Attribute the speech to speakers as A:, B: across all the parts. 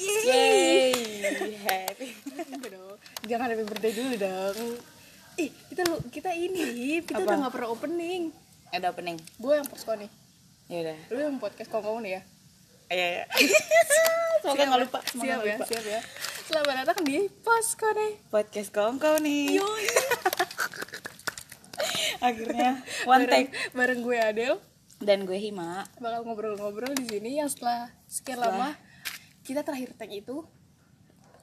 A: Gitu jangan happy birthday dulu dong ih kita lu kita ini Hip. kita
B: Apa?
A: udah nggak pernah opening
B: ada opening
A: gue yang posko nih
B: ya udah
A: lu yang podcast kongkong nih ya
B: iya iya semoga nggak lupa semoga
A: siap
B: nggak
A: ya
B: lupa.
A: siap ya selamat datang di posko nih
B: podcast kongkong nih
A: Yoi.
B: akhirnya one
A: bareng,
B: take
A: bareng gue Adel
B: dan gue Hima
A: bakal ngobrol-ngobrol di sini yang setelah sekian lama kita terakhir tag itu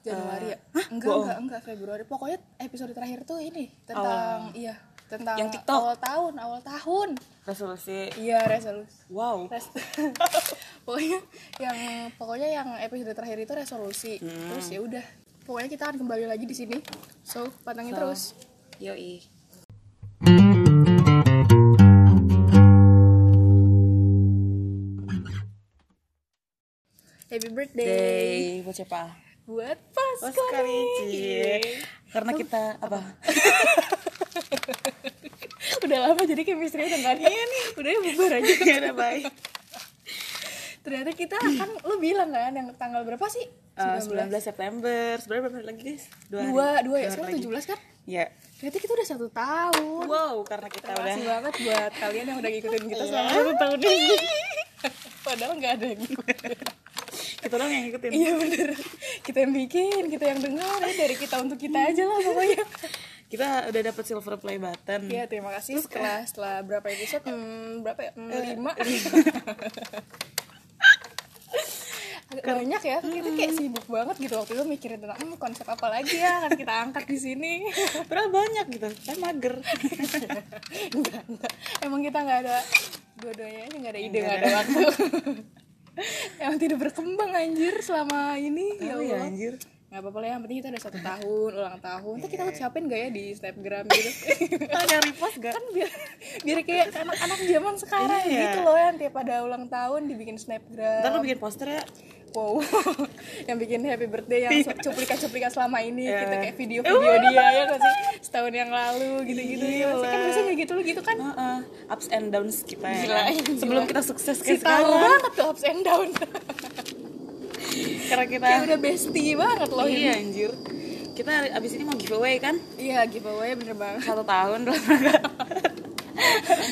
A: Januari ya? enggak,
B: Eh, Bohong.
A: enggak, enggak Februari. Pokoknya episode terakhir tuh ini tentang iya, tentang
B: Oh. Yang TikTok.
A: awal tahun, awal tahun.
B: resolusi
A: Iya, resolusi.
B: wow
A: Res- pokoknya yang pokoknya yang episode terakhir itu resolusi. Terus ya udah. Pokoknya kita akan kembali lagi di sini. So, pantengin
B: So.
A: terus.
B: yoi
A: Happy birthday
B: day buat siapa
A: buat Pascal.
B: Cie. karena kita apa
A: udah lama jadi chemistry udah gak ada nih udah ya bubar aja
B: ya udah bye
A: ternyata kita akan lu bilang kan yang tanggal berapa sih
B: Eh, 19 September sebenarnya berapa hari lagi guys dua hari.
A: dua dua ya
B: hari
A: sekarang
B: lagi.
A: 17 kan
B: ya
A: berarti kita udah satu tahun
B: wow karena kita udah
A: makasih banget buat kalian yang udah ngikutin kita selama satu tahun ini padahal nggak ada yang ngikutin
B: kita doang yang ngikutin
A: iya bener kita yang bikin kita yang dengar ya dari kita untuk kita aja lah pokoknya
B: kita udah dapet silver play button
A: ya terima kasih setelah setelah berapa episode hmm, berapa ya Hmm, lima Agak banyak ya kita kayak sibuk banget gitu waktu itu mikirin tentang "Hmm, konsep apa lagi ya akan kita angkat di sini
B: Padahal banyak gitu, saya mager
A: Enggak, enggak. emang kita nggak ada dua-duanya aja nggak ada ide nggak ada
B: Nggak
A: waktu emang tidak berkembang anjir selama ini ya
B: Tahu
A: Allah
B: Iya, anjir
A: nggak apa-apa lah ya, yang penting kita udah satu tahun ulang tahun Ntar
B: Iya.
A: kita ucapin gak ya di Instagram gitu
B: Ada repost gak?
A: kan biar biar kayak anak-anak zaman sekarang
B: Iya.
A: gitu loh yang tiap ada ulang tahun dibikin
B: Ntar lu
A: snapgram
B: bikin poster ya
A: wow yang bikin happy birthday yang cuplikan-cuplikan selama ini
B: Iya.
A: kita kayak video-video dia ya kan sih setahun yang lalu gitu-gitu ya nggak sih? kan
B: Gila.
A: biasanya gitu loh gitu kan
B: Heeh, Ups and downs kita ya
A: Gila,
B: kan?
A: gila.
B: Sebelum kita sukses
A: si tahu
B: kayak sekarang Nah.
A: banget tuh ups and down
B: Karena kita
A: kayak udah bestie banget loh ini.
B: Iya anjir Kita hari- abis ini mau giveaway kan?
A: iya giveaway bener banget
B: Satu tahun dalam rangka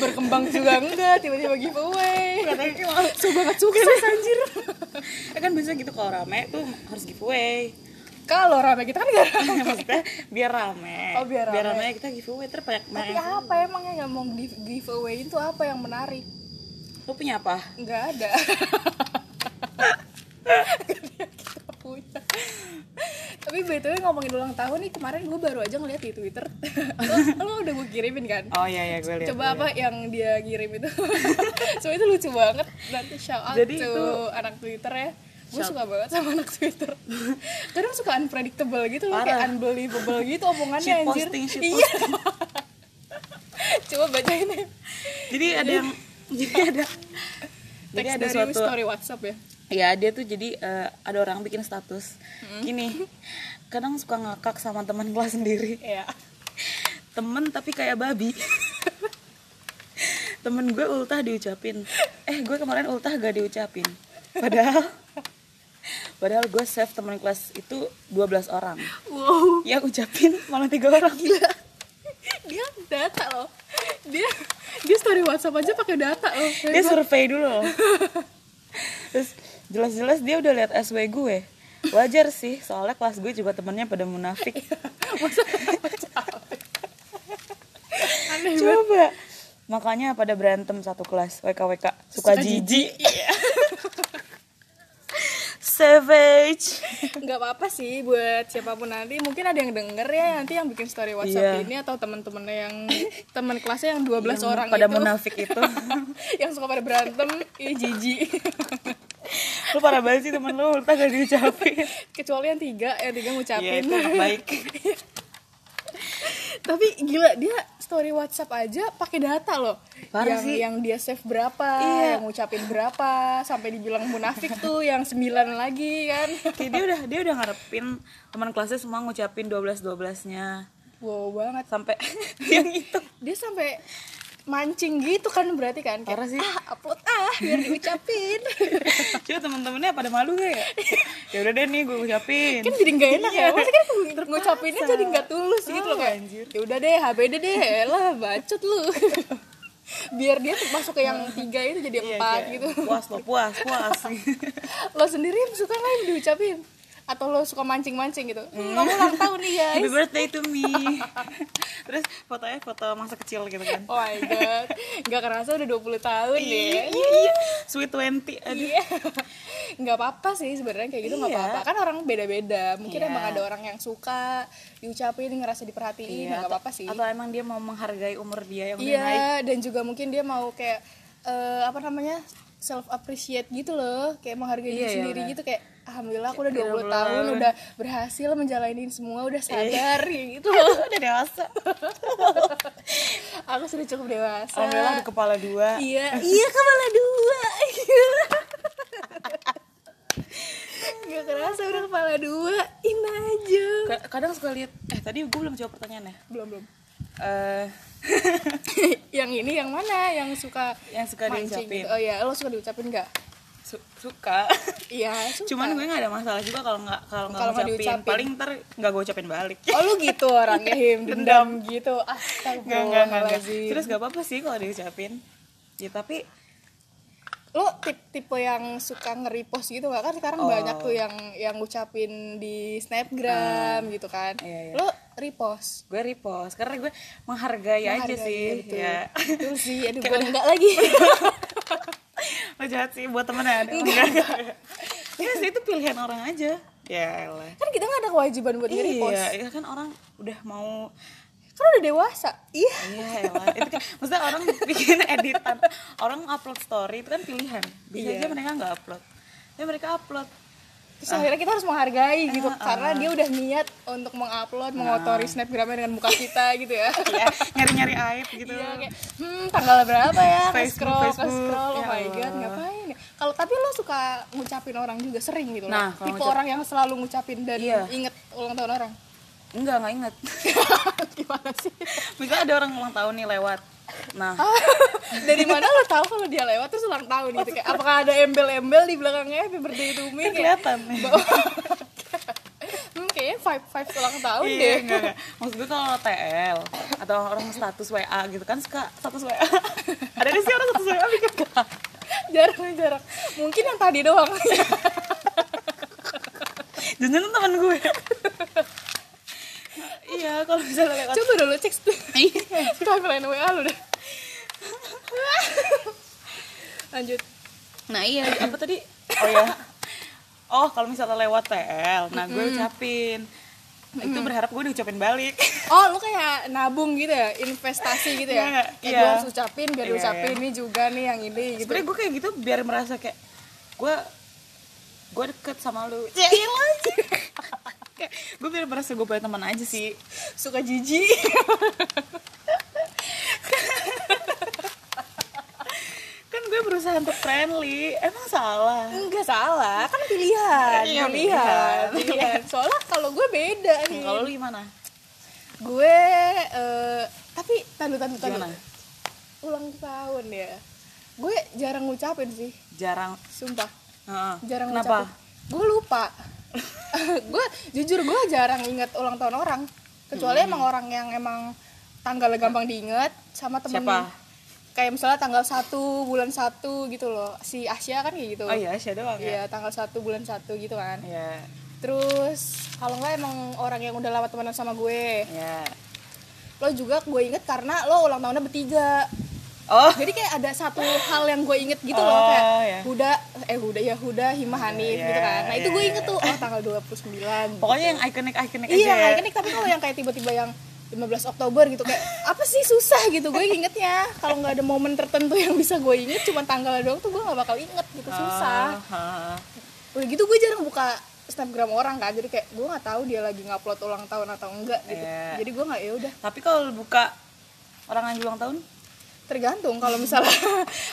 A: berkembang juga enggak tiba-tiba giveaway
B: Katanya kita mau
A: so banget sukses anjir
B: Ya kan biasanya gitu kalau rame tuh harus giveaway
A: kalau rame kita kan gak rame
B: Maksudnya biar rame
A: Oh, biar rame.
B: kita giveaway Terus banyak
A: tapi
B: banyak-
A: apa emangnya yang mau di giveaway itu apa yang menarik
B: Lu punya apa?
A: nggak ada Kita punya. tapi btw ngomongin ulang tahun nih kemarin gue baru aja ngeliat di twitter lo, lo udah gue kirimin kan
B: Oh iya iya gue lihat.
A: coba apa yang dia kirim itu so itu lucu banget nanti shout out
B: Jadi
A: to
B: itu-
A: anak twitter ya gue suka banget sama anak twitter kadang suka unpredictable gitu loh kayak
B: Parah.
A: unbelievable gitu omongannya
B: Shit
A: anjir
B: posting, shit
A: iya coba bacain ya
B: Jadi ada yang jadi ada jadi
A: teks
B: ada
A: dari
B: suatu
A: story WhatsApp ya
B: ya dia tuh jadi eh, ada orang bikin status gini kadang suka ngakak sama teman kelas sendiri
A: Iya.
B: temen tapi kayak babi temen gue ultah diucapin eh gue kemarin ultah gak diucapin padahal padahal gue save teman kelas itu 12 orang
A: Wow,
B: yang ucapin malah tiga orang gila
A: dia data loh. Dia dia story WhatsApp aja pakai data loh.
B: dia survei dulu loh. terus jelas-jelas dia udah lihat SW gue wajar sih soalnya kelas gue juga temennya pada munafik
A: Aneh banget.
B: coba makanya pada berantem satu kelas WKWK
A: Suka
B: suka, jijik savage
A: Nggak apa-apa sih buat siapapun nanti. Mungkin ada yang denger ya nanti yang bikin story WhatsApp
B: Iya.
A: ini atau teman-temannya yang teman kelasnya yang 12 orang
B: pada
A: itu.
B: munafik itu
A: yang suka pada berantem, ih jijik.
B: lu parah banget sih temen lu ultah gak diucapin
A: Kecuali yang tiga, yang tiga
B: ya
A: ngucapin.
B: itu anak baik
A: Tapi gila dia story WhatsApp aja pakai data loh.
B: Parah
A: yang
B: sih.
A: yang dia save berapa,
B: Iya.
A: yang ngucapin berapa, sampai dibilang munafik tuh yang sembilan lagi kan.
B: kayak dia udah dia udah ngarepin teman kelasnya semua ngucapin 12 12 nya
A: Wow banget.
B: sampai yang itu
A: Dia sampai mancing gitu kan berarti kan kayak,
B: Parah sih.
A: ah upload ah biar diucapin
B: Coba temen-temennya pada malu gak ya? ya udah deh nih gue ucapin.
A: kan jadi nggak enak ya maksudnya kan ng- ngucapinnya jadi nggak tulus gitu loh kayak ya udah deh HBD deh lah bacot lu biar dia masuk ke yang tiga itu jadi
B: Iya,
A: empat
B: kayak,
A: gitu
B: Puas lo, puas, puas.
A: lo sendiri suka nggak yang diucapin atau lo suka mancing mancing gitu hmm. kamu ulang tahun nih
B: Happy
A: guys
B: birthday to me. Terus fotonya foto masa kecil gitu kan.
A: oh my god nggak kerasa udah 20 tahun ya.
B: Iya,
A: deh
B: iya, iya. Sweet 20. Aduh.
A: Iya. nggak apa-apa sih sebenarnya kayak gitu nggak
B: Iya.
A: apa-apa kan orang beda-beda mungkin
B: Iya.
A: emang ada orang yang suka diucapin ngerasa diperhatiin nggak
B: Iya, atau-
A: apa-apa sih
B: Atau emang dia mau menghargai umur dia yang udah naik.
A: iya dan juga mungkin dia mau kayak eh, apa namanya self appreciate gitu loh kayak menghargai
B: Iya,
A: diri
B: iya,
A: sendiri
B: benar.
A: gitu kayak alhamdulillah aku udah
B: Kayak
A: 20
B: Iya. 20
A: tahun
B: tahun.
A: udah berhasil menjalani semua udah sadar kayak gitu loh
B: Udah dewasa.
A: aku sudah cukup dewasa
B: Alhamdulillah udah kepala dua.
A: iya iya kepala dua Iya. nggak kerasa udah kepala dua in aja
B: Ka- Kadang suka lihat eh tadi gue belum jawab ya? pertanyaannya.
A: belum belum
B: Eh
A: yang ini yang mana yang suka
B: yang suka
A: mancing
B: diucapin.
A: gitu? oh iya lo suka diucapin nggak
B: Su- suka.
A: iya suka.
B: Cuman gue gak ada masalah juga kalau nggak kalau nggak
A: Kalau nggak
B: ngucapin.
A: diucapin.
B: Paling ntar nggak gue ucapin balik.
A: Oh lu gitu orangnya him dendam gitu.
B: Nggak nggak nggak. nggak.
A: Astagfirullahaladzim.
B: Terus gak apa-apa sih kalau diucapin. Ya tapi
A: lu tip tipe yang suka nge-repost gitu gak kan sekarang
B: Oh.
A: banyak tuh yang yang ngucapin di Snapgram gitu kan.
B: Iya, iya.
A: Lu repost.
B: gue repost karena gue menghargai, aja
A: Menghargai,
B: sih.
A: betul.
B: Ya.
A: Betul sih, aduh gue enggak lagi.
B: Lo Oh, jahat sih buat temennya ada.
A: Iya.
B: Enggak. enggak. Ya sih itu pilihan orang aja. Ya elah.
A: kan kita gak ada kewajiban buat nge-repost.
B: Iya, iya kan orang udah mau
A: Kan udah dewasa. Iya.
B: Iya elah, itu kan, maksudnya orang bikin editan, orang upload story itu kan pilihan. Bisa
A: Iya.
B: aja mereka nggak upload, tapi mereka upload.
A: Terus akhirnya kita harus menghargai gitu
B: Ah, Nah. ah.
A: karena dia udah niat untuk mengupload, mengotori Snapgramnya dengan muka kita gitu ya.
B: Ya, nyari-nyari aib gitu.
A: Iya kayak hmm tanggal berapa ya
B: Facebook,
A: nge-scroll
B: Facebook.
A: nge-scroll oh
B: Ya
A: my god
B: Allah.
A: ngapain ya kalau tapi lo suka ngucapin orang juga sering gitu
B: Nah,
A: loh
B: kalau
A: tipe
B: ngucap-
A: orang yang selalu ngucapin dan
B: Iya.
A: inget ulang tahun orang
B: Enggak, nggak inget.
A: gimana sih
B: Misalnya ada orang ulang tahun nih lewat. Nah,
A: dari mana lo tahu kalau dia lewat terus ulang tahun gitu kayak apakah ada embel-embel di belakangnya happy birthday to me
B: kan
A: kayak
B: kelihatan.
A: hmm, kayaknya five five ulang tahun
B: Iya,
A: deh
B: enggak, enggak. Maksud gue kalau TL atau orang status WA gitu kan suka status WA. ada nggak sih orang status WA bikin
A: jarang jarang mungkin yang tadi doang
B: Jangan tuh teman gue. iya, kalau misalnya lewat
A: coba dulu cek
B: Iya.
A: timeline wa lo deh lanjut
B: Nah iya, apa tadi? Oh ya. Oh, kalau misalnya lewat TL, nah gue ucapin. Nah, Itu berharap gue diucapin balik.
A: Oh, lu kayak nabung gitu ya, investasi gitu
B: Iya,
A: ya. Kayak
B: iya.
A: gue harus ucapin biar
B: Iya,
A: diucapin
B: iya.
A: ini juga nih yang ini gitu.
B: Sebenernya gue kayak gitu biar merasa kayak gue gue deket sama lu.
A: Ya ilah.
B: Kayak, gue biar merasa gue punya teman aja sih.
A: Suka jijik.
B: Kan gue berusaha untuk friendly. Emang salah.
A: Enggak salah, kan pilihan,
B: Iya,
A: pilihan,
B: pilihan. Iya.
A: pilihan. Soalnya kalau gue beda nih.
B: Kalau lu gimana?
A: Gue eh, tapi tanda tanda tanda.
B: Gimana?
A: Ulang tahun ya. Gue jarang ngucapin sih,
B: Jarang.
A: sumpah.
B: Heeh.
A: Jarang
B: Kenapa?
A: ngucapin. Gue lupa. gue jujur gue jarang inget ulang tahun orang. Kecuali
B: Hmm.
A: emang orang yang emang tanggalnya gampang diinget sama temen
B: Siapa?
A: kayak misalnya tanggal 1 bulan 1 gitu loh. Si Asia kan kayak gitu.
B: Oh iya, Asia doang ya.
A: Iya, tanggal 1 bulan 1 gitu kan.
B: Iya.
A: Terus kalau nggak emang orang yang udah lama temenan sama gue.
B: Iya.
A: Lo juga gue inget karena lo ulang tahunnya bertiga.
B: Oh,
A: Jadi kayak ada satu hal yang gue inget gitu
B: Oh,
A: loh kayak
B: iya.
A: Huda eh Huda ya Huda Hima Hanif
B: Iya,
A: gitu kan. Nah, itu
B: iya,
A: gue
B: iya.
A: inget tuh oh tanggal 29.
B: pokoknya yang ikonik-ikonik aja
A: Iya,
B: ya.
A: ikonik tapi kalau yang kayak tiba-tiba yang 15 Oktober gitu kayak apa sih susah gitu gue ingetnya kalau nggak ada momen tertentu yang bisa gue inget cuma tanggal doang tuh gue nggak bakal inget gitu
B: Oh.
A: susah
B: Ah, ah.
A: udah gitu gue jarang buka snapgram orang kan jadi kayak gue nggak tahu dia lagi ngupload ulang tahun atau enggak gitu
B: Iya.
A: jadi gue nggak ya udah
B: Tapi kalau lu buka orang lagi ulang tahun,
A: tergantung kalau misalnya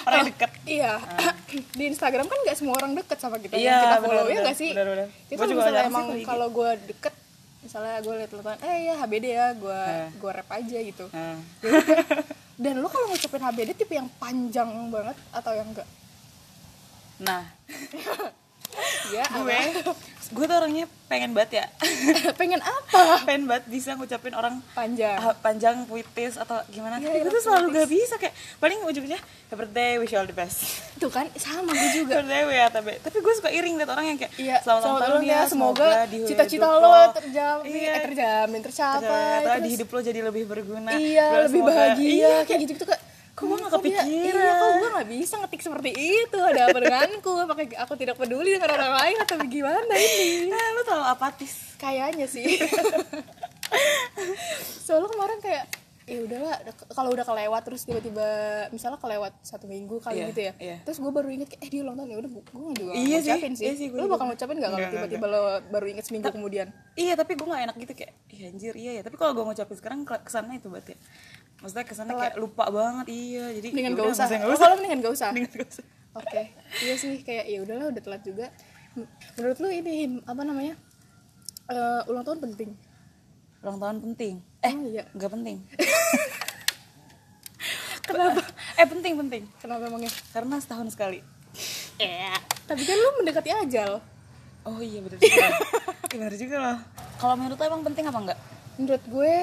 B: orang yang deket.
A: iya di Instagram kan nggak semua orang deket sama kita
B: Iya,
A: yang kita follow
B: benar,
A: ya nggak
B: benar,
A: sih
B: benar, benar.
A: jadi kalau
B: Gua juga
A: misalnya
B: jarang sih
A: emang
B: kalau IG.
A: kalau gue deket kan, iya, misalnya gue liat telepon eh ya HBD ya gue
B: Nah.
A: gue rap aja gitu Ya
B: Nah.
A: udah. Dan lu kalau ngucapin HBD tipe yang panjang banget atau yang enggak?
B: Nah,
A: Ya,
B: gue gue tuh orangnya pengen banget ya.
A: apa? pengen apa?
B: pengen banget bisa ngucapin orang
A: Panjang.
B: ah, panjang puitis atau gimana.
A: Iya,
B: Tapi gue tuh
A: iya,
B: selalu gak bisa kayak paling ujungnya happy birthday, wish you all the best.
A: Itu kan sama gue juga.
B: Happy birthday, ya, tapi tapi gue suka iring liat orang yang kayak
A: Iya,
B: selamat ulang tahun ya,
A: Semoga
B: di
A: cita-cita
B: hidup
A: lo terjamin,
B: Iya.
A: eh, terjamin, tercapai.
B: atau di
A: terus-
B: hidup lo jadi lebih berguna.
A: iya,
B: Bro,
A: lebih
B: semoga-
A: bahagia.
B: Iya,
A: kayak gitu gitu kayak
B: Kok gua
A: hmm,
B: nggak
A: dia-
B: kepikiran?
A: Iya, kok gue gak bisa ngetik seperti itu? Ada apa denganku? Pakai aku tidak peduli dengan orang lain atau gimana ini?
B: "Ah, lo terlalu apatis.
A: Kayaknya sih. Soalnya kemarin kayak ya udahlah de- kalau udah kelewat terus tiba-tiba misalnya kelewat satu minggu kali
B: Iya,
A: gitu ya
B: iya.
A: terus gue baru inget kayak eh dia ulang tahun ya udah gue juga nggak
B: Iya sih,
A: ngucapin sih,
B: iya sih, gua
A: lo
B: juga.
A: bakal ngucapin nggak kalau
B: Nggak, nggak,
A: tiba-tiba lo baru inget seminggu kemudian
B: Iya, tapi gue gak enak gitu kayak, "Ih, anjir, iya ya. Tapi kalau gue ngucapin sekarang ke- kesannya itu banget ya. Maksudnya kesannya kayak lupa banget, iya. Jadi
A: mendingan
B: ya
A: gak
B: udah,
A: usah
B: maksudnya
A: Oh,
B: nggak
A: kalau mendingan gak usah
B: Mendingan nggak usah.
A: Oke, iya sih kayak ya udahlah udah telat juga. M- Menurut lu ini Him, apa namanya Eh, ulang tahun penting?
B: Ulang tahun penting. Eh,
A: Oh, iya.
B: nggak penting. Kenapa? Eh, penting, penting.
A: Kenapa emangnya?
B: Karena setahun sekali.
A: Tapi kan lu mendekati ajal.
B: Oh iya, bener juga. Iya, bener juga loh. Kalau menurut lo emang penting apa enggak?
A: Menurut gue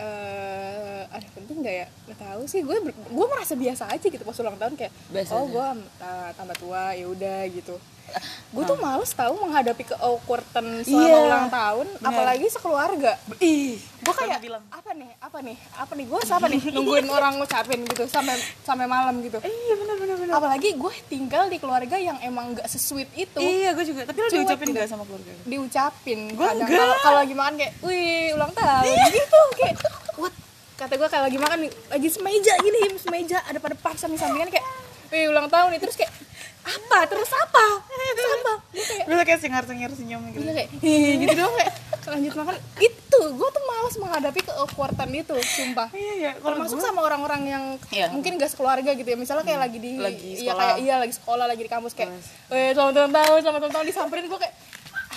A: eh ada penting gak ya? Gak tahu sih. Gue ber- gue merasa biasa aja gitu pas ulang tahun kayak
B: Biasa
A: oh
B: aja. Ah.
A: gue eh, tambah tua ya udah gitu. Gue tuh males tahu menghadapi ke awkwardan selama
B: Iya,
A: ulang tahun, apalagi sekeluarga.
B: Ih,
A: gue kayak
B: Kan bilang.
A: apa nih apa nih apa nih gue siapa nih nungguin orang ngucapin gitu sampai sampai malam gitu
B: Iya, bener, bener, bener.
A: apalagi gue tinggal di keluarga yang emang gak sesuit itu
B: Iya, gue juga. Tapi lo
A: Cuek
B: diucapin
A: gitu.
B: nggak sama keluarga? lo?
A: diucapin
B: Gua
A: kadang
B: enggak. Iya.
A: kalau kalau lagi makan kayak wih ulang tahun gitu kayak what kata gue kalau lagi makan lagi semeja gini semeja ada pada depan samping sampingan kayak wih ulang tahun nih terus kayak apa terus apa terus apa gue kayak
B: Gue kayak singar-singar senyum gitu.
A: Terus kayak "Ih," gitu doang kayak lanjut makan itu gue tuh malas menghadapi ke awkwardan itu sumpah
B: Iya, iya. Kalau
A: termasuk sama orang-orang yang
B: Iya.
A: mungkin gak sekeluarga gitu ya misalnya kayak lagi di
B: Lagi
A: iya
B: sekolah.
A: kayak iya lagi sekolah lagi di kampus kayak
B: Terus.
A: eh selamat ulang tahun selamat ulang tahun disamperin gue kayak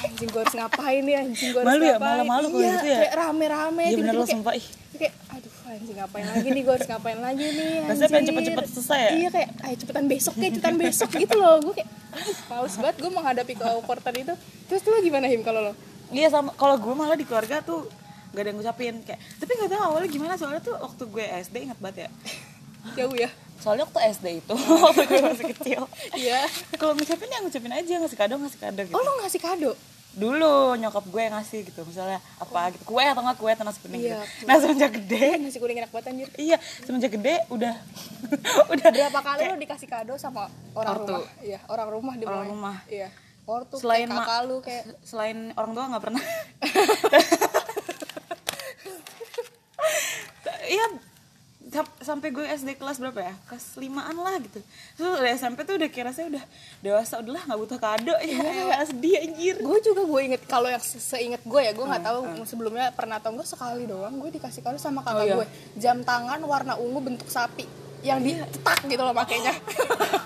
A: anjing gue harus ngapain nih anjing gue harus
B: Malu ya,
A: ngapain
B: malu-malu kalau
A: iya,
B: gitu ya.
A: kayak rame-rame
B: Iya, bener
A: tiba-tiba
B: lo,
A: kayak-
B: sumpah. Ih,
A: kayak aduh anjing ngapain lagi nih gue harus ngapain lagi nih anjing
B: Rasanya pengen cepet-cepet selesai ya?
A: iya kayak ayo cepetan besok kayak cepetan besok gitu loh gue kayak "Aduh, males banget gue menghadapi ke awkwardan itu terus tuh gimana him kalau lo
B: Iya sama kalau gue malah di keluarga tuh gak ada yang ngucapin kayak tapi nggak tahu awalnya gimana soalnya tuh waktu gue SD ingat banget ya
A: jauh ya
B: soalnya waktu SD itu waktu gue masih kecil
A: iya
B: kalau ngucapin ya ngucapin aja ngasih kado ngasih kado gitu
A: oh lo ngasih kado
B: dulu nyokap gue yang ngasih gitu misalnya apa gitu kue atau nggak kue atau nasi kuning
A: Iya,
B: gitu nah semenjak gede
A: Eh, nasi kuning enak banget anjir
B: iya semenjak gede udah udah
A: berapa kali lo dikasih kado sama orang
B: Ortu.
A: rumah iya orang rumah di
B: Orang
A: bawah.
B: rumah.
A: iya ortu
B: Selain
A: kayak
B: ma-
A: kakak lu kayak
B: selain orang tua nggak pernah iya sam- sampai gue SD kelas berapa ya kelas limaan lah gitu terus udah SMP tuh udah kira saya udah dewasa udahlah nggak butuh kado ya
A: Iya.
B: elah, sedih anjir
A: gue juga gue inget kalau yang se- seinget gue ya gue
B: Ah,
A: nggak tahu sebelumnya pernah atau enggak sekali doang gue dikasih kado sama kakak
B: Oh, iya.
A: gue jam tangan warna ungu bentuk sapi yang ditetak gitu loh makainya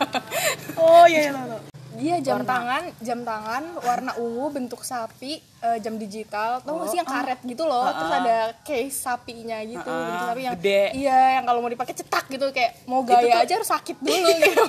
B: oh iya iya tau, tau.
A: dia jam tangan jam tangan warna ungu bentuk sapi eh, jam digital tau gak sih yang
B: Oh,
A: karet gitu loh terus ada case sapinya gitu
B: Ah,
A: bentuk sapi yang
B: gede.
A: iya yang kalau mau dipakai cetak gitu kayak mau gaya aja harus sakit dulu gitu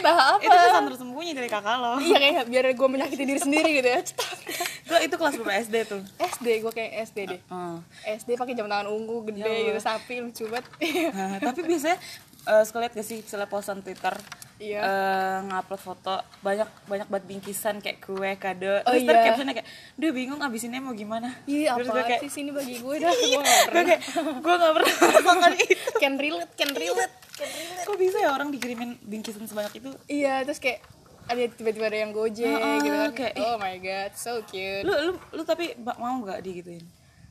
A: entah
B: itu
A: apa
B: kesan tersembunyi dari kakak lo
A: iya kayak biar gue menyakiti diri sendiri gitu ya cetak
B: itu itu kelas berapa SD tuh
A: SD gue kayak SD deh
B: Hmm.
A: SD pakai jam tangan ungu gede
B: Ya
A: gitu sapi lucu banget
B: Nah, tapi biasanya eh suka lihat gak sih misalnya postan Twitter
A: Iya.
B: eh, ngupload foto banyak banyak banget bingkisan kayak kue kado
A: Oh,
B: terus ntar
A: iya.
B: captionnya kayak duh bingung abisinnya mau gimana
A: Ih,
B: terus gue
A: apa
B: kayak
A: Iya, sih sini bagi gue dah gue nggak
B: gue
A: pernah.
B: kayak gue gak pernah melakukan itu
A: can relate can relate
B: kok bisa ya orang dikirimin bingkisan sebanyak itu
A: Iya, terus kayak ada tiba-tiba ada yang gojek
B: Heeh,
A: gitu kan.
B: kayak,
A: oh my god, so cute.
B: lu lu lu tapi ba- mau gak digituin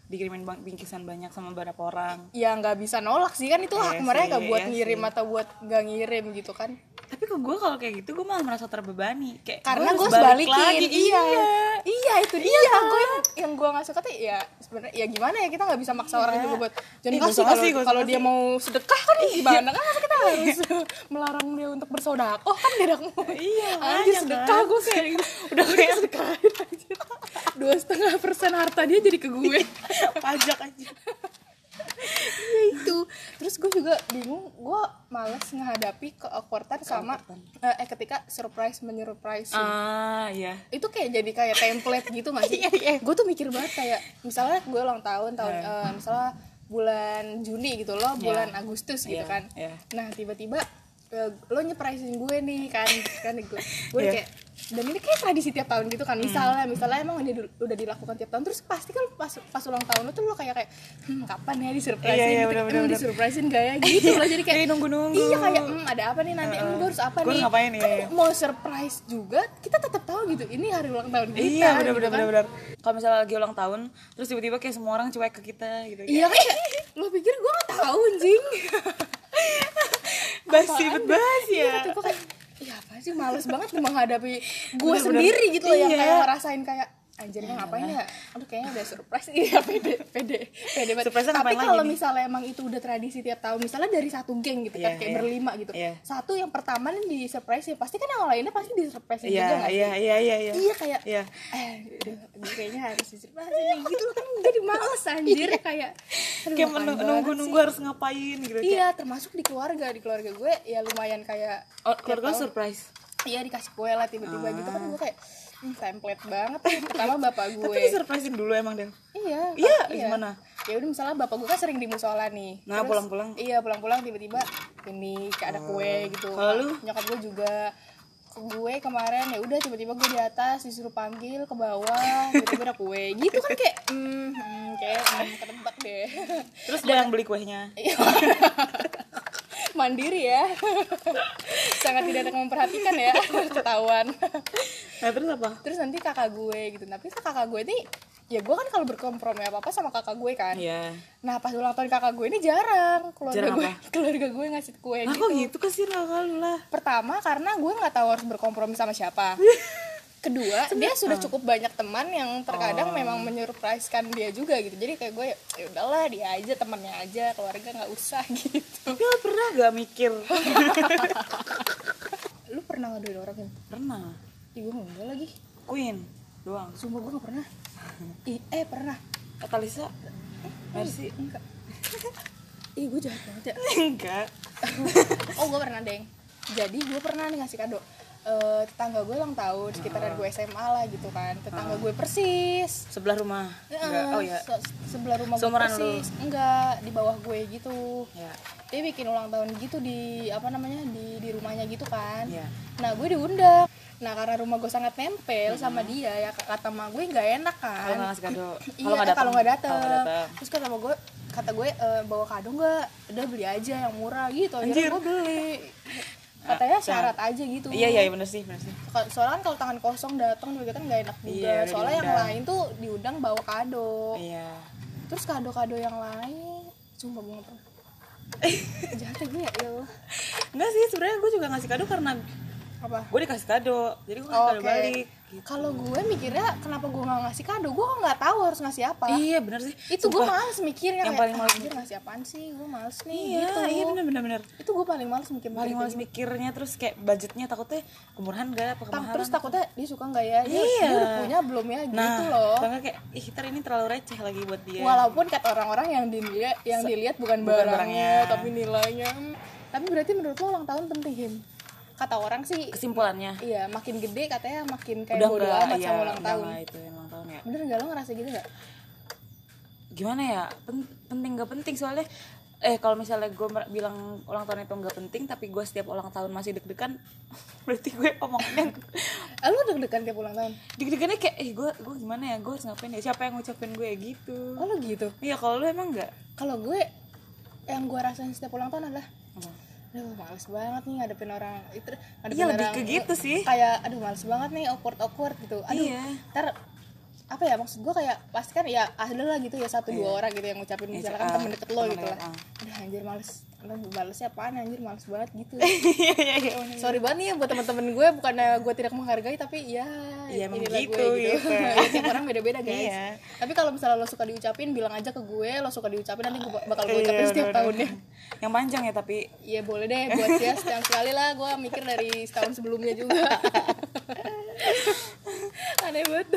B: dikirimin bang- bingkisan banyak sama beberapa orang
A: Ya nggak bisa nolak sih kan itu hak
B: Iya
A: mereka
B: sih,
A: buat
B: iya
A: ngirim atau buat nggak ngirim gitu kan.
B: tapi ke gue kalau kayak gitu gue malah merasa terbebani kayak
A: Karena
B: harus
A: gue sebalikin.
B: lagi
A: Iya.
B: iya
A: Iya, itu dia. Gue yang, yang gue nggak suka tuh ya sebenarnya ya gimana ya kita nggak bisa maksa orang juga buat jangan
B: Iya. Ih, gua
A: kasih
B: suka
A: kalau
B: sih, Iya. gua
A: kalau
B: suka
A: dia mau sedekah kan gimana kan masa kita harus melarang dia untuk bersodak. Oh kan dia mau.
B: Iya,
A: Anjir
B: makanya
A: sedekah gue kayak gitu.
B: udah kayak
A: Sedekahin anjir. Dua setengah persen harta dia jadi ke gue.
B: pajak aja iya,
A: Iya, itu terus gue juga bingung gue males menghadapi keawkwardan sama eh, eh, ketika surprise menyurprise
B: ah iya
A: itu kayak jadi kayak template gitu nggak sih?
B: Iya, iya.
A: Gue tuh mikir banget kayak misalnya gue ulang tahun tahun eh, misalnya bulan Juni gitu loh, bulan Agustus gitu
B: Iya,
A: kan.
B: iya.
A: Nah tiba-tiba eh, lo nyeperisin gue nih kan kan gue gue
B: Iya. Hmm.
A: kayak dan ini kayak tradisi tiap tahun gitu kan misalnya misalnya emang udah, di- udah dilakukan tiap tahun terus pasti kan pas pas ulang tahun lo tuh lo kayak kayak hmm, kapan ya disurprisein
B: Iya, iya,
A: gitu,
B: bener,
A: "Hmm,
B: bener, bener.
A: disurprisein gak ya gitu loh jadi kayak
B: Jadi nunggu-nunggu.
A: iya kayak hmm, ada apa nih nanti hmm, gue harus apa
B: Gue
A: nih
B: harus ngapain nih?
A: Kan mau surprise juga kita tetap tahu gitu ini hari ulang tahun kita
B: iya bener
A: gitu
B: bener
A: kan.
B: bener bener kalau misalnya lagi ulang tahun terus tiba-tiba kayak semua orang cuek ke kita gitu
A: iya kayak lo pikir gue gak tahu anjing
B: basi bet basi
A: iya
B: ya
A: tuh gue kayak iya apa sih males banget nih menghadapi gue
B: Bener-bener.
A: sendiri gitu loh yang
B: Iya.
A: kayak ngerasain kayak anjir gue ngapain ya aduh kayaknya udah surprise iya pede pede pede banget
B: Surprise-nya
A: tapi
B: ngapain lagi
A: kalau
B: nih?
A: misalnya emang itu udah tradisi tiap tahun misalnya dari satu geng gitu kan
B: Iya,
A: kayak
B: iya.
A: berlima gitu
B: Iya.
A: satu yang pertama nih di surprise pasti kan yang lainnya pasti di surprise juga
B: iya
A: nggak sih?
B: iya iya iya iya
A: Iya kayak
B: Iya.
A: eh aduh, gue kayaknya harus disurprise nih gitu loh kan jadi males anjir kayak aduh,
B: Iya. kayak
A: apaan
B: menung-
A: banget
B: nunggu
A: sih.
B: nunggu harus ngapain gitu kayak,
A: Iya, termasuk di keluarga, di keluarga gue ya lumayan kayak
B: oh,
A: tiap
B: keluarga
A: tahun,
B: surprise
A: Iya dikasih kue lah tiba-tiba gitu kan gue kayak hmm, template banget nih. pertama bapak gue.
B: Ah. tapi disurprisein dulu emang deh
A: Iya.
B: Iya,
A: kak-
B: gimana?
A: Ya udah misalnya bapak gue kan sering di musola nih.
B: Nah,
A: Terus-
B: pulang-pulang? Oh.
A: Iya, pulang-pulang tiba-tiba ini kayak ada kue gitu.
B: Kalau lu?
A: Nyokap gue juga gue kemarin ya udah tiba-tiba gue di atas disuruh panggil ke bawah tiba-tiba ada kue gitu kan kayak hmm, hmm, kayak hmm, ketebak deh
B: terus dia yang beli kuenya
A: Iya. mandiri ya sangat tidak ada yang memperhatikan ya ketahuan
B: nah terus apa
A: terus nanti kakak gue gitu tapi kakak gue ini ya gue kan kalau berkompromi apa apa sama kakak gue kan
B: iya
A: nah pas ulang tahun kakak gue ini jarang keluarga
B: Jarang
A: gue
B: apa?
A: keluarga gue ngasih kue
B: Nah,
A: gitu
B: kok gitu kasih lah lu lah
A: pertama karena gue nggak tahu harus berkompromi sama siapa kedua dia sudah cukup banyak teman yang terkadang memang menyurpriskan dia juga gitu jadi kayak gue ya udahlah dia aja temannya aja keluarga nggak usah gitu
B: Gak pernah gak mikir
A: lu pernah ngaduin orang kan
B: Pernah
A: ibu enggak lagi
B: Queen doang
A: sumpah gue nggak pernah Ih, eh pernah Eh,
B: Katalisa Mercy
A: enggak Ih, gue jahat banget ya
B: Enggak
A: oh gue pernah deng jadi gue pernah nih ngasih kado Eh, tetangga gue ulang tahun sekitaran gue SMA lah gitu kan tetangga gue persis
B: Sebelah rumah Enggak
A: Eh,
B: Ah. Oh ya
A: se- sebelah rumah gue
B: Seumuran lu?
A: persis enggak di bawah gue gitu
B: Ya
A: dia bikin ulang tahun gitu di apa namanya di di rumahnya gitu kan
B: Iya.
A: nah gue diundang nah karena rumah gue sangat nempel sama dia ya kata ma gue nggak enak kan
B: Kalau nggak ngasih kado
A: iya eh, kalau nggak dateng
B: Kalau nggak dateng.
A: terus kata gue kata gue e, bawa kado nggak udah beli aja yang murah gitu
B: Anjir. Ah,
A: akhirnya gue beli katanya syarat aja gitu
B: Iya iya bener sih bener sih
A: Ka- soalnya kan kalau tangan kosong datang juga kan nggak enak juga
B: Iya, udah
A: soalnya yang
B: diundang.
A: lain tuh diundang bawa kado
B: Iya
A: terus kado-kado yang lain cuma gue nggak pernah jahat ya gue ya ya Allah.
B: Enggak sih sebenarnya gue juga ngasih kado karena
A: apa
B: Gue dikasih kado Jadi gue
A: Oke.
B: ngasih kado balik gitu.
A: Kalau gue mikirnya kenapa gue nggak ngasih kado, gue kok nggak tahu harus ngasih apa.
B: Iya bener sih
A: itu gue
B: Sumpah.
A: males mikirnya
B: Yang
A: kayak,
B: paling males
A: "Ah, anjir, ngasih apaan sih, gue males nih
B: Iya
A: gitu.
B: iya bener bener bener
A: Itu gue paling males mikir
B: Paling
A: mikir
B: males mikirnya terus kayak budgetnya takutnya kemurahan gak apa
A: kayak gitu. Tak-
B: kemahalan
A: terus takutnya dia suka nggak ya, dia,
B: Iya.
A: dia udah punya belum ya
B: Nah,
A: gitu loh.
B: takutnya kayak ih ntar ini terlalu receh lagi buat dia.
A: Walaupun kata orang-orang yang dilihat yang dilihat bukan,
B: bukan
A: barangnya,
B: barangnya.
A: tapi nilainya. Hmm. Tapi berarti menurut lo ulang tahun penting, Him? Kata orang sih,
B: Kesimpulannya
A: iya makin gede katanya makin kayak
B: udah
A: bodo
B: nggak-
A: amat
B: iya,
A: sama ulang
B: udah
A: tahun.
B: nggak itu emang tahun ya.
A: Bener nggak lo ngerasa gitu nggak?
B: Gimana ya? Pen- penting gak penting soalnya eh kalau misalnya gue bilang ulang tahun itu nggak penting tapi gue setiap ulang tahun masih deg-degan berarti gue omongnya
A: Eh, Lo deg-degan tiap ulang tahun?
B: deg-degannya kayak eh gue gue gimana ya gue harus ngapain ya siapa yang ngucapin gue gitu
A: Oh lo gitu?
B: iya kalau lu emang nggak
A: Kalau gue yang gue rasain setiap ulang tahun adalah
B: Apa?
A: Aduh males banget nih ngadepin orang itu ngadepin
B: iya lebih
A: orang-
B: ke gitu sih
A: Kayak aduh males banget nih awkward awkward gitu Aduh
B: Iya.
A: ntar apa ya maksud gue kayak pasti kan ya ada lah gitu ya satu dua orang gitu yang ngucapin
B: Iya,
A: misalkan
B: ah,
A: temen deket lo
B: temen
A: gitu
B: deket, ah.
A: lah Aduh anjir males Aduh balesnya apaan anjir males banget gitu
B: iya iya iya bener.
A: Sorry banget nih ya buat temen-temen gue bukannya gue tidak menghargai tapi ya
B: Iya, emang
A: inilah
B: gitu, gitu.
A: Ya, tiap orang beda-beda guys.
B: Iya.
A: Tapi kalau misalnya lo suka diucapin bilang aja ke gue lo suka diucapin nanti gue bakal gue
B: Iya,
A: ucapin setiap
B: bener,
A: tahunnya.
B: bener. yang panjang ya tapi
A: Iya boleh deh buat ya setiap sekali lah gue mikir dari setahun sebelumnya juga.
B: Ya
A: Aneh banget.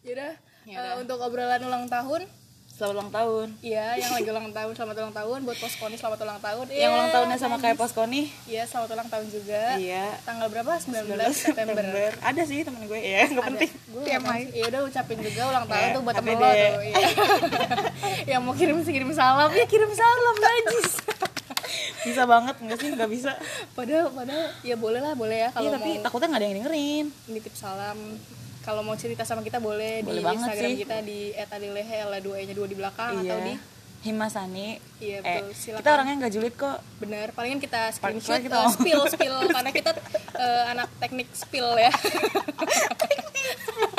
A: Yaudah, eh, untuk obrolan ulang tahun
B: selamat ulang tahun
A: Iya, yang lagi ulang tahun, selamat ulang tahun buat Poskoni selamat ulang tahun.
B: yang
A: Iya,
B: ulang tahunnya sama kayak Poskoni
A: Iya, selamat ulang tahun juga.
B: iya
A: Tanggal berapa? 19,
B: 19
A: September.
B: September. Iya. ada sih temen gue ya nggak penting
A: Gue Ya udah ucapin juga ulang tahun
B: Iya,
A: tuh buat
B: happy
A: temen lo
B: day.
A: tuh. Iya. yang mau kirim kirim
B: Iya,
A: salam, ya kirim salam najis.
B: bisa banget nggak sih nggak bisa
A: padahal padahal ya boleh lah, boleh ya
B: iya
A: kalau
B: tapi
A: mau
B: takutnya nggak ada yang dengerin
A: nitip salam. Kalau mau cerita sama kita boleh, di
B: Boleh banget
A: Instagram
B: sih. Iya.
A: kita di @adilehe dua nya dua di belakang atau di
B: Himasani
A: Iya,
B: eh,
A: betul. Silakan.
B: kita orangnya nggak julid kok
A: benar palingan kita screenshot
B: Palingan kita
A: eh,
B: ngomong.
A: spill spill karena kita eh, anak teknik spill ya iya